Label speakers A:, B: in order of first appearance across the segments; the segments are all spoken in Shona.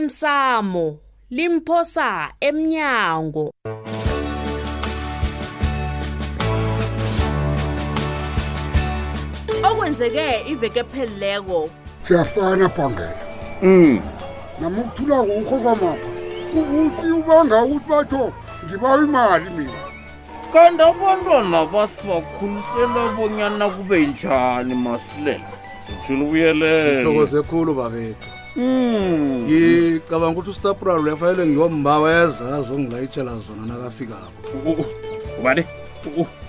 A: semsamo limphosa emnyango okwenzeke iveke phelileko
B: siyafana bhangela
C: Mm.
B: namukuthula kukho kwamapha ubuqi ubanga ukuthi batho ngibawa imali mina
C: kanti abantwana basibakhulisela bonyana kube njani masilela nditshona ubuyelela
D: thokoze khulu babethu
B: Hmm.
D: ngicabanga ukuthi ustapuralo uyafanele ngiyombawa ezazo ngilayitshela zona nakafikako
C: ubani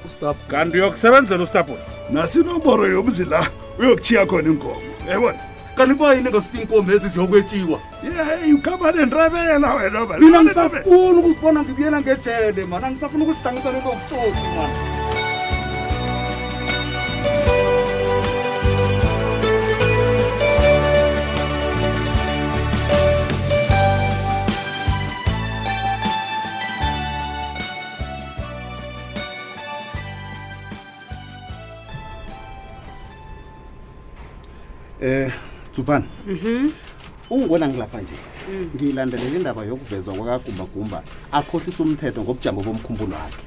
D: Ustap-
C: kanti uyokusebenzela ustabula
E: nasinomboro yomzi la uyokuchiya khona inkomo yayibona kanti kuba yini ngasithi inkomo ezi ziyokwetshiwa yeyi ukhamba nendrabela wena man.
F: mina ngisafuna ukusibona ngibuyela ngejele mani angisafuna ukudihlangisa lento yobutsotsi mani
G: Eh Tsupana. Mhm. Ungibona ngilapha nje. Ngilandelela indaba yokuvezwa kwakagumba gumba akhohlisa umthetho ngobujamo bomkhumbulo wakhe.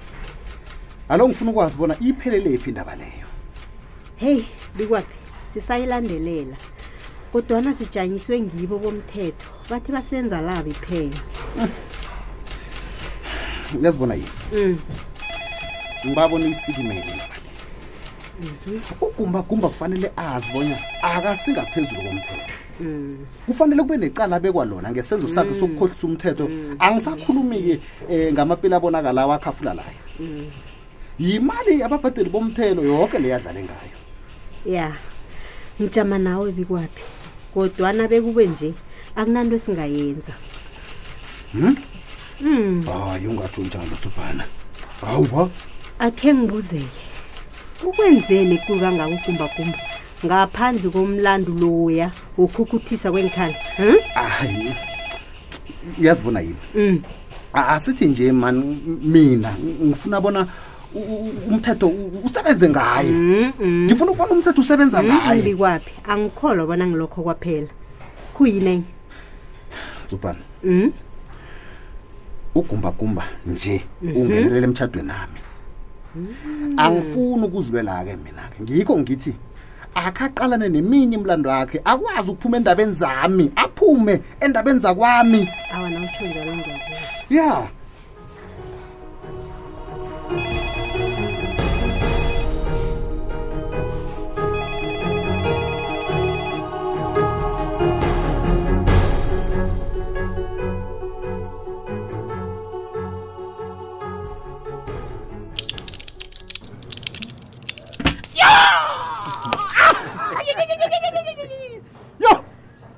G: Alo ngifuna ukwazi bona iphelele iphi indaba leyo.
H: heyi bikwaphi sisayilandelela kodwana sijanyiswe ngibo bomthetho bathi basenza labi phela
G: Ngiyazibona yini? Mhm. Ngibabona uyisikimele. indaba le. Ugumba gumba kufanele azibonya akasingaphezulu komthetho. kufanele kube necala abekwa lona ngesenzo sakhe sokukhohlisa umthetho angisakhulumi-ke um ngamapeli abonakala awakhafula layo yimali ababhadeli bomthelo yonke le yadlale ngayo
H: ya ngijama nawe bikwaphi kodwana bekube nje akunanto esingayenza
G: hayi ungatsho njalo tsubhana hawuba
H: akhe ngibuzeke ukwenzeni kubi kangakugumbagumba ngaphandle komlando loya wokhukuthisa kwenkhala hm?
G: hayi uyazibona yini
H: mm.
G: A- asithi nje mani m- mina ng- ngifuna bona u- u- umthetho u- usebenze ngaye
H: Mm, mm.
G: ngifuna ukubona umthetho usebenza ngaye
H: bikwaphi angikholwa bona ngilokho kwaphela kuyini enye
G: tsubhana
H: Mm?
G: ugumbagumba nje
H: Mm-hmm.
G: ungenelele emtshadweni nami
H: Mm.
G: angifuni ukuzilwela-ke mina-ke ngikho ngithi akhaqalane neminye imlando wakhe akwazi ukuphuma endabeni zami aphume endabeni zakwami
H: awa nawutsho njalo ngiyakuzwa
G: ya
I: yo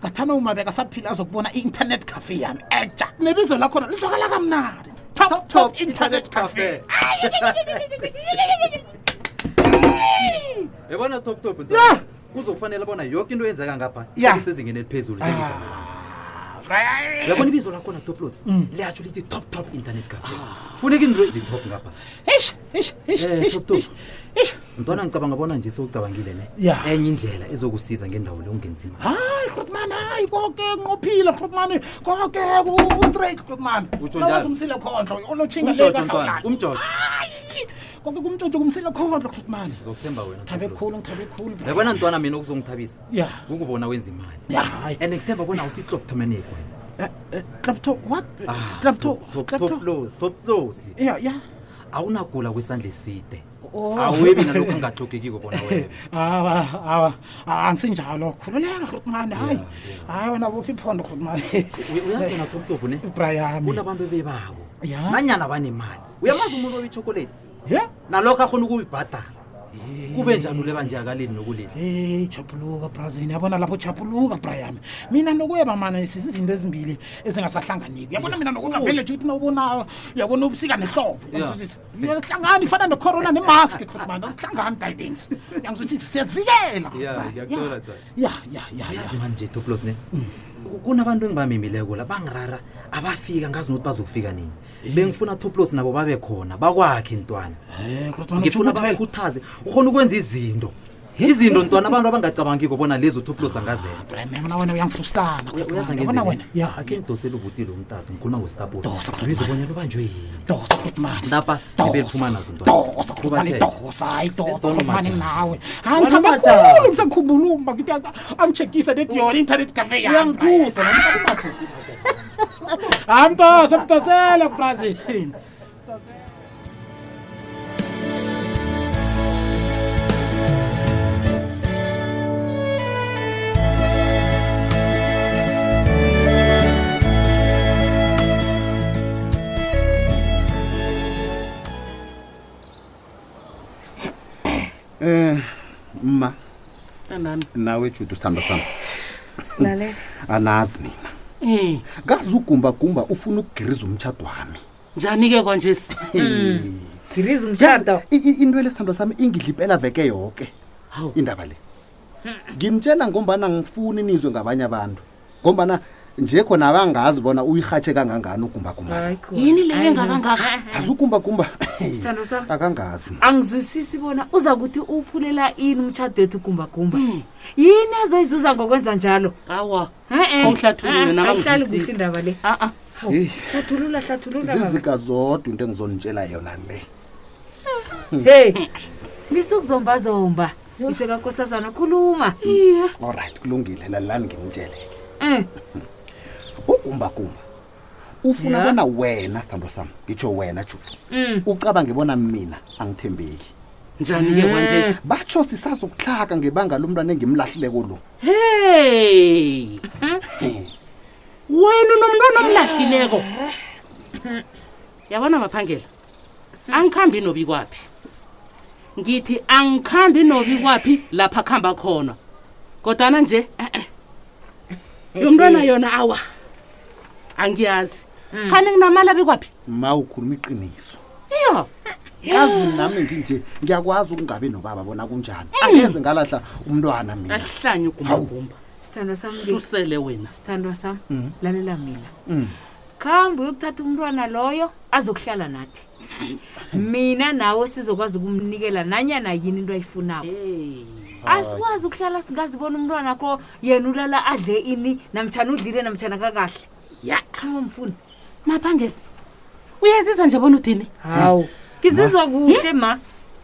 I: ngathana umabeka saphila azokubona i-internet cafe yami etsha nebizo lakhona lizwakala kamnandi top top internet cafe
F: yabona top top kuzokufanele bona yoke into yenzeka ngapha
I: Ya.
F: isezingeni eliphezulu njengegama. yabona ibizo lakhona toplos
I: Mm.
F: liyatsho lithi top top internet cafe funeka into ezitop ngapha
I: Eish, eish, eish,
F: Eh,
I: eish,
F: Top Top.
I: eish, eish.
F: mntwana ngicabanga bona nje sewucabangile ne
I: Ya.
F: enye indlela ezokusiza ngendawo le ungenzi imali
I: hayi hrotman hayi konke nqophile hrotman konke ustraight hrotman
F: Utsho njalo?
I: umsile khondlo olotshinga
F: umjojo mntwana umjojo
I: konke kumtshotsho kumsile khondlo hrotman
F: ngizokuthemba wena
I: thabe
F: Top Loss.
I: khulu ngithabe khulu bra.
F: yabona ntwana mina okuzongithabisa
I: Ya.
F: kukubona wenza imali
I: Ya, hayi
F: and ngithemba bona awusitloptomeneko wena
I: clapto what
F: Ah,
I: clapto
F: Top- Top- top
I: clapto
F: Loss, top close
I: ya ya
F: awunagula kwesandla eside
I: Oh.
F: awebi nalokhu angahlogekiko bona wena
I: awa awa ah, angisinjalo khululeka hrotman hayi hayi wena bophi iphondo hrotman
F: uyazona toptop ne
I: brayami
F: kunabantu ebebako
I: Ya.
F: nanyana banemali uyamazi umuntu obichokoleti
I: ye
F: nalokho akhona ukuyibhadala kube njani ule banje akaleli nokuleli
I: Hey chapuluka brazini yabona lapho chapuluka brayami mina nokuyeba mana sizinto ezimbili ezingasahlanganiki uyabona mina nokuna vele nje ukuthi nawubonayo uyabona ubusika nehlobo uyangizwisisa uyahlangana ifana necorona nemask hrotman asihlangani guidance uyangizwisisa siyazivikela
F: Ya, ngiyakuthola, Dwa.
I: ya ya ya ya
F: ayazi mani nje toplos ne Ku- kunabantu engibamemileko la bangirara abafika ngazi nokuthi bazokufika nini bengifuna toplos nabo babe khona bakwakhe ntwana
I: Eh, Hrotman, utjho
F: ngifuna
I: ukuthi vele-
F: bakhuthaze ukhona ukwenza izinto izinto ntwana abantu abangacabangiko bona lezo utoplos angazenza
J: mna wena uyangifustana
F: uyaza
J: Yabona wena
F: ngenzeni akhe ngidosele ubutile umtato ngikhuluma ngositapoize bonyana ubanjwe yini
J: dosa krutmane
F: lapha ngibe liphuma nazo
J: dosa krutmane
F: Ubathethe.
J: dosa hayi dosa
F: Don't
J: krutmane
F: matter.
J: nawe
F: Wena
J: angihamba
F: matter.
J: khulu msengikhumbula umba ngithi angitshekisa lethi yona i-internet cafe
F: Uyangithusa,
J: hayi mtosa mtosele kubrazil
G: um ma
C: Tanani.
G: nawe jude usithanda sam
A: silalela
G: anazi mina
C: Eh,
G: kazi ugumbagumba ufuna ukugiriza umtshado wami
C: njani ke konje?
A: giriza
G: umtshado into lesithandwa sami ingidlipela veke yoke indaba le ngimtshela ngombana ngifuni nizwe ngabanye abantu ngombana nje khona abangazi bona uyirhatshe kangangani ugumbagumba
C: Yini le engakangaka?
G: azi ugumbagumba
A: Sithando sami.
G: akangazi ma.
A: angizwisisi bona uza kuthi uphulela ini umtshado wethu gumbagumba yini ezoyizuza ngokwenza njalo
C: Hmm. Awa.
A: Eh, eh.
C: Awuhlathulule
A: Ah,
C: nami
A: ayihlali kuhle
C: angizwisisi.
A: indaba le
C: Ah ah.
A: Hawu,
G: Hey.
A: hlathulula hlathulula baba.
G: zizika zodwa into engizonitshela yona le
A: hey lisukuzombazomba isekakosazana khuluma
G: olright kulungile lalani nginitshele
A: Eh,
G: ugumbagumba ufuna
A: Ya.
G: bona wena sithandwa sami ngitsho wena jude
A: mm.
G: ucabange bona mina angithembeki
C: Njani ke
J: Mm.
C: konje?
G: batsho sisazokuhlaka ngebanga lomntwana engimlahlileko lo Eh,
C: Hey! Wena nomntwana omlahlileko. Yabona maphangela. Angikhambi nobi kwapi. Ngithi angikhambi nobi kwapi lapha khamba khona. Kodana nje eh, eh. Yomntwana yona awa. Angiyazi. Khani nginamali abekwaphi?
G: ma ukhuluma iqiniso
C: Iyo.
G: kazi nami nginje ngiyakwazi ukungabi nobaba bona kunjani
C: Mm.
G: angeze ngalahla umntwana mina
C: Asihlanye ugumbagumba.
A: sithandwa sami ke
C: Susele wena.
A: sithandwa sami
G: Mm.
A: lalela mina
G: Mm.
A: khambe uyokuthatha umntwana loyo azokuhlala nathi mina nawe sizokwazi ukumnikela nanyana yini into ayifunako
C: Hey.
A: asikwazi ukuhlala singazibona umntwana kho yena ulala adle ini namtshana udlile namtshana kakahle
C: Ya.
A: khangomfuni
C: Maphangela. Uyazizwa nje bona uthini?
A: hawu ngizizwa kuhle
I: Hmm?
A: ma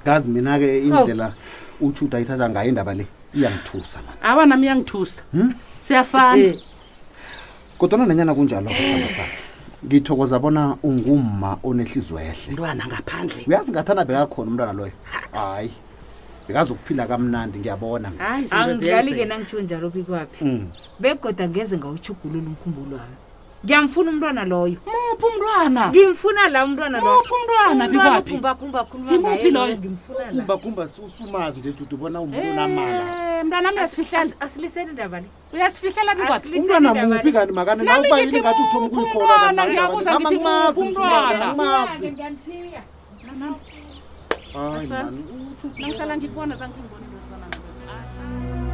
G: kazi mina-ke
C: Oh.
G: indlela utshuda ayithatha ngayo indaba le iyangithusa mani
C: Awa nami uyangithusa.
G: Hmm?
C: Siyafana.
G: kodwana nanyana kunjalo sithandwa sami ngithokoza bona ungumma onehliziyo ehle
C: Mntwana ngaphandle.
G: uyazi ngathana bekakhona umntwana loyo hayi bekazokuphila kamnandi ngiyabona mina.
C: Hayi
A: angidlali-ke nangitsho njalo bikwaphi
G: Mm.
A: begoda ngeze ngawutshugulula umkhumbulo wami ngiyamfuna umntwana loyo
C: Muphi umntwana?
A: ngimfuna la umntwana loyo
C: Muphi umntwana bikwaphi? Ngimuphi loyo?
A: kumbakhumbakhulumaasilisenindaba
G: kumbakumba sumazi nje jude ubona umuntu unamala
C: Eh, mntwana wami uyasifihlela.
A: le
C: Uyasifihlela bikwaphi?
A: Asili-
G: umntwana
A: Liseni
G: muphi
A: ndaba
G: kanti makane
C: Nami
G: nawe ubayile
C: ngithi
G: ngathi uthoma
C: muphi
G: ukuyikhola
C: umntwana? Ngiyabuza ngithi
G: angimazi
C: muphi umntwana?
G: angimazi hayi man
C: Asazi. Nangihlala ngikubona zange ngibone into ezifana nazo.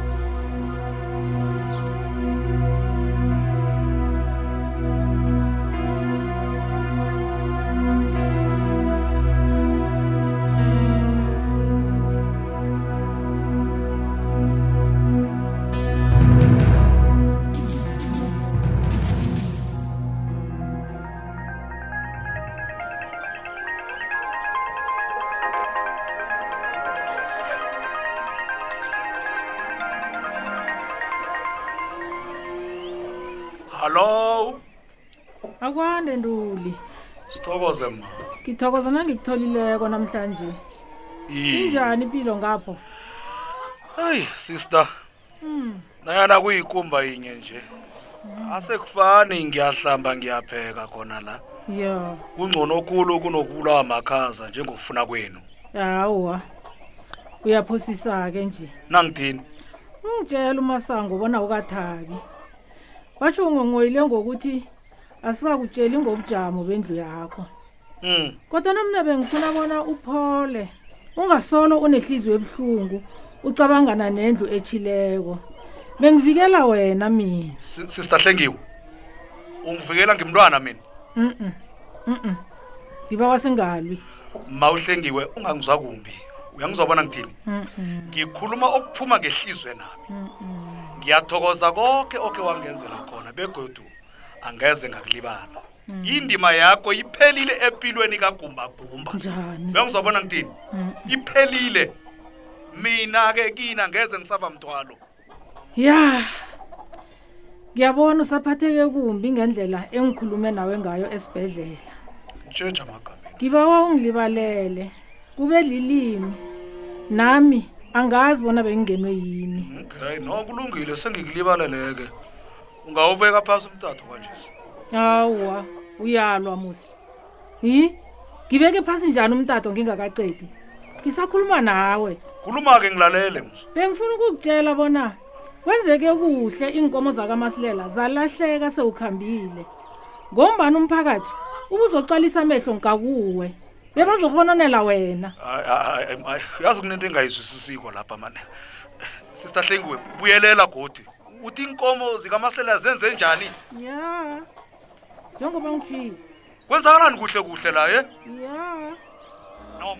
E: hallo
I: akwande ntuli
E: sithokoze ma
I: ngithokoza nangikutholileko namhlanje injani impilo ngapho
E: hayi sister
I: Mm,
E: nayana kuyikumba yinye nje asekufani ngiyahlamba ngiyapheka khona la
I: ya
E: kungcono kulo kunokubulawa makhaza njengokufuna kwenu
I: hawa uyaphosisa-ke nje
E: nangithini
I: ungitshela umasango bona ukathabi watsho ungongoyile ngokuthi asikakutsheli ngobujamo bendlu yakho
E: um
I: kodwa namna bengifuna bona uphole ungasolo unehliziyo ebuhlungu ucabangana nendlu ethileko bengivikela wena mina
E: sister hlengiwe ungivikela ngimntwana mina
I: Mm-mm. Mm-mm. ngiba wasengalwi
E: ma uhlengiwe ungangizwa kumbi
K: uyangizobona ngithini ngikhuluma okuphuma ngehlizwe nami ngiyathokoza konke okhe wangenzela khona begodu angeze ngakulibala indima yakho iphelile empilweni kagumbagumba
I: njani
K: uyangizobona ngithini iphelile mina-ke kina ngeze ngisaba mthwalo
I: ya ngiyabona usaphatheke kumbi ngendlela engikhulume nawe ngayo esibhedlela
K: tshentsha maga
I: ngibawa ungilibalele kube lilimi nami angazi bona bengingenwe yini
K: okay no kulungile sengikulibaleleke ungawubeka phasi umtatho kanje
I: awa uyalwa musi yi ngibeke phasi njani umtato ngingakacedi ngisakhuluma nawe
K: khuluma-ke ngilalele
I: bengifuna ukukutshela bona kwenzeke kuhle iinkomo zakamasilela zalahleka sewukhambile ngombani umphakathi ubuzoqalisa amehlo ngakuwe bebazohononela wena
K: Ay, ay, ay, ay, yazi kunento engayizwisisiko lapha mane sisitahlengiwe buyelela godi uthi inkomo zikamasilela zenze njani
I: ya njengoba ngijile
K: kwenzakalani kuhle kuhle la ye
I: ya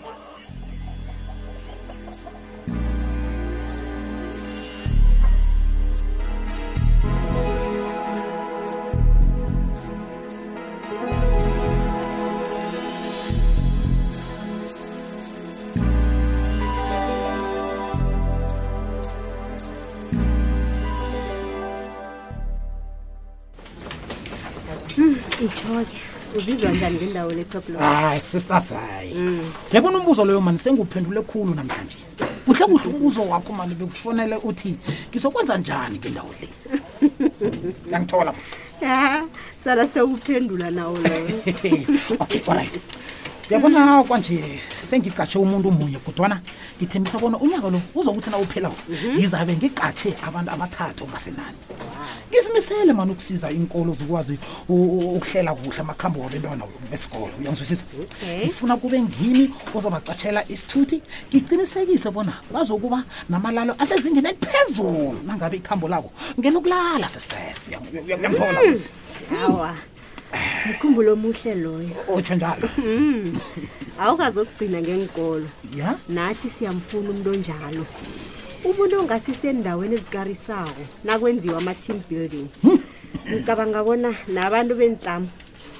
H: itsho-ke uzizwa njani ngendawo letoplo
G: hayi sisters hayi yabona umbuzo leyo mani sengiwuphendule khulu namhlanje kuhle kuhle umbuzo wakho mani bekufonele uthi ngizokwenza njani ngendawo le yangithola
H: Ah, sala sewuphendula nawo loyo
G: okay olright yabona kwanje sengicatshe umuntu munye kodwana ngithembisa bona unyaka lo uzokuthi na uphelawo ngizabe ngiqatshe abantu abathathu ongasenani ngizimisele mani ukusiza inkolo zikwazi u- u- ukuhlela kuhle amakhambo wabentwana besikolo uyangizwisisa ngifuna kube ngimi ozobacatshela isithuthi ngiqinisekise bona bazokuba namalalo asezingeni eliphezulu nangabe ikhambo labo ngelokulala sesitesi uyangithola
H: Mm.
G: kusi
H: awa mkhumbulo omuhle loyo
G: otsho njalo
H: Mm. awukazokugcina ngenkolo
G: ya
H: nathi siyamfuna umuntu onjalo umuntu ongasisendaweni ezikarisako nakwenziwa ama-team building ngicabanga bona nabantu benhlamo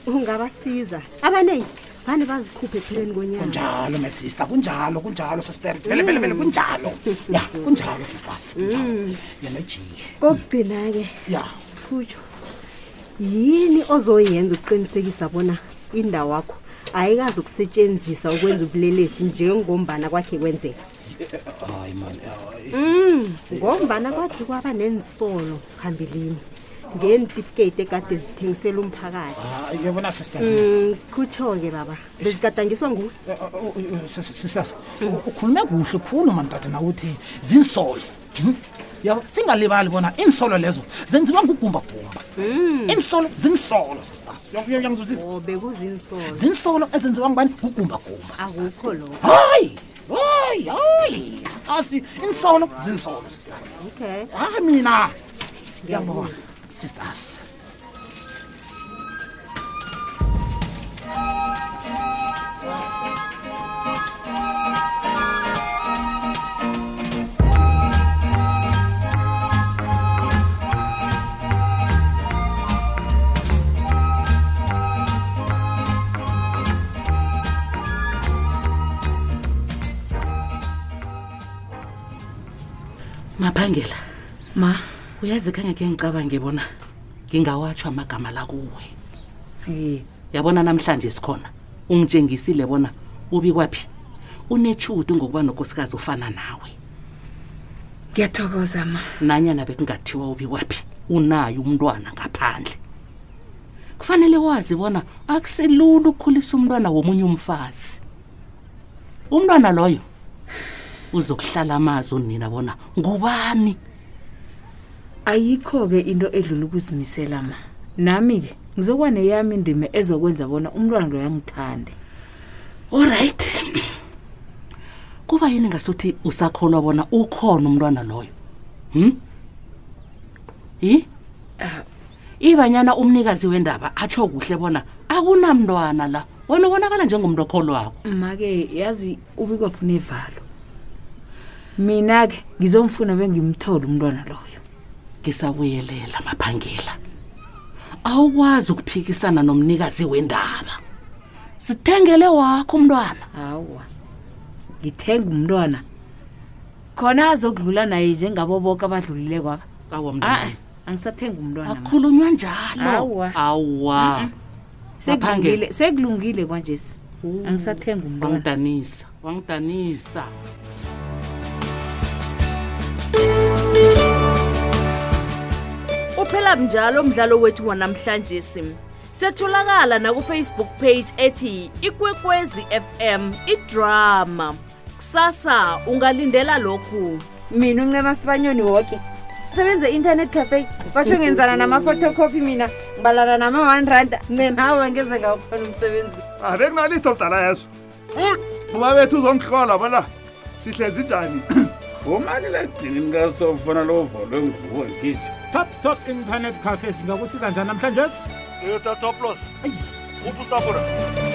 H: ungabasiza abaningi vane bazikhuphe ekupheleni konyaka Mm.
G: kunjalo my sister kunjalo kunjalo sister vele vele vele kunjalo ya kunjalo sisters kunjalo yena jiye
H: Mm. kokugcina-ke
G: ya
H: thutsho yini ozoyenza ukuqinisekisa bona indawo wakho ayikazi ukusetshenziswa ukwenza ubulelesi njengombana kwakhe kwenzeka
G: hayi mani hayi.
H: Mm, ngombana kwakhe kwaba nensolo phambilini ngentifiketi ekade zithengisela umphakathi
G: Hayi, uyabona sister
H: Mm, kutsho-ke baba bezigadangiswa nguwe
G: sisters ukhulume kuhle khulu mani tata nawuthi zinsolo Mhm. yabo singalibali bona iinsolo lezo zenziwa ngugumbagumba iinsolo zinsolo sisters uyangizuzisa
H: oh, bekuzinsolo
G: zinsolo ezenziwa ngubani ngugumbagumba
H: akukho lokho
G: hayi hayi hayi sisters insolo zinsolo sisters
H: okay
G: hayi mina
H: Ngiyabona.
G: ngiyabona sisters
C: maphangela ma uyazi khange ke ngicabange bona ngingawatsho amagama la kuwe hey. yabona namhlanje sikhona ungitshengisile bona ubi kwaphi unetshudu ngokuba nokosikazi ufana nawe
L: ngiyathokoza ma
C: nanyana bekungathiwa ubi kwaphi unayo umntwana ngaphandle kufanele wazi bona akuselula ukukhulisa umntwana womunye umfazi umntwana loyo uzokuhlala amazwi unina bona ngubani
A: ayikho-ke into edlula ukuzimisela ma nami-ke ngizokuba neyami indima ezokwenza bona umntwana loyo angithande
C: olright kuba yini ngasuthi usakholwa bona ukhona umntwana loyo hm yi Eh, ibanyana umnikazi wendaba atsho kuhle bona akunamntwana la wena ubonakala njengomuntu okholwako
A: ma-ke yazi ubikwaphi unevalo
M: mina-ke ngizomfuna bengimthole umntwana loyo
C: ngisabuyelela maphangela awukwazi ukuphikisana nomnikazi wendaba sithengele wakho umntwana
M: hawa ngithenga umntwana khona azokudlula naye njengabo boke abadlulile kwaba
C: awa
M: a angisathenga umntwana man.
C: khulunywa njalo
M: Awa.
C: awa
M: Mm-mm. Sekulungile- sekulungile kwanjesi angisathenga umntwana
C: wangidanisa wangidanisa
A: uphela njalo umdlalo wethu wanamhlanje sim setholakala nakufacebook page ethi ikwekwezi fm idrama kusasa ungalindela lokhu
H: mina uncema sibanyoni woke sebenze i-internet cafe basho ngenzana nama-photocopy mina ngibalana nama-one randa ncemawe ngeze ngawukhona umsebenzi
K: abe kunalitho Ah, mdala yezo uba bethu uzongihlola bona sihlezi njani
G: umaliledinini kasofuna lovalwe nguwe ngithi
I: top internet cafe singakusiza njani namhlanje
N: uyotatoplos upusapura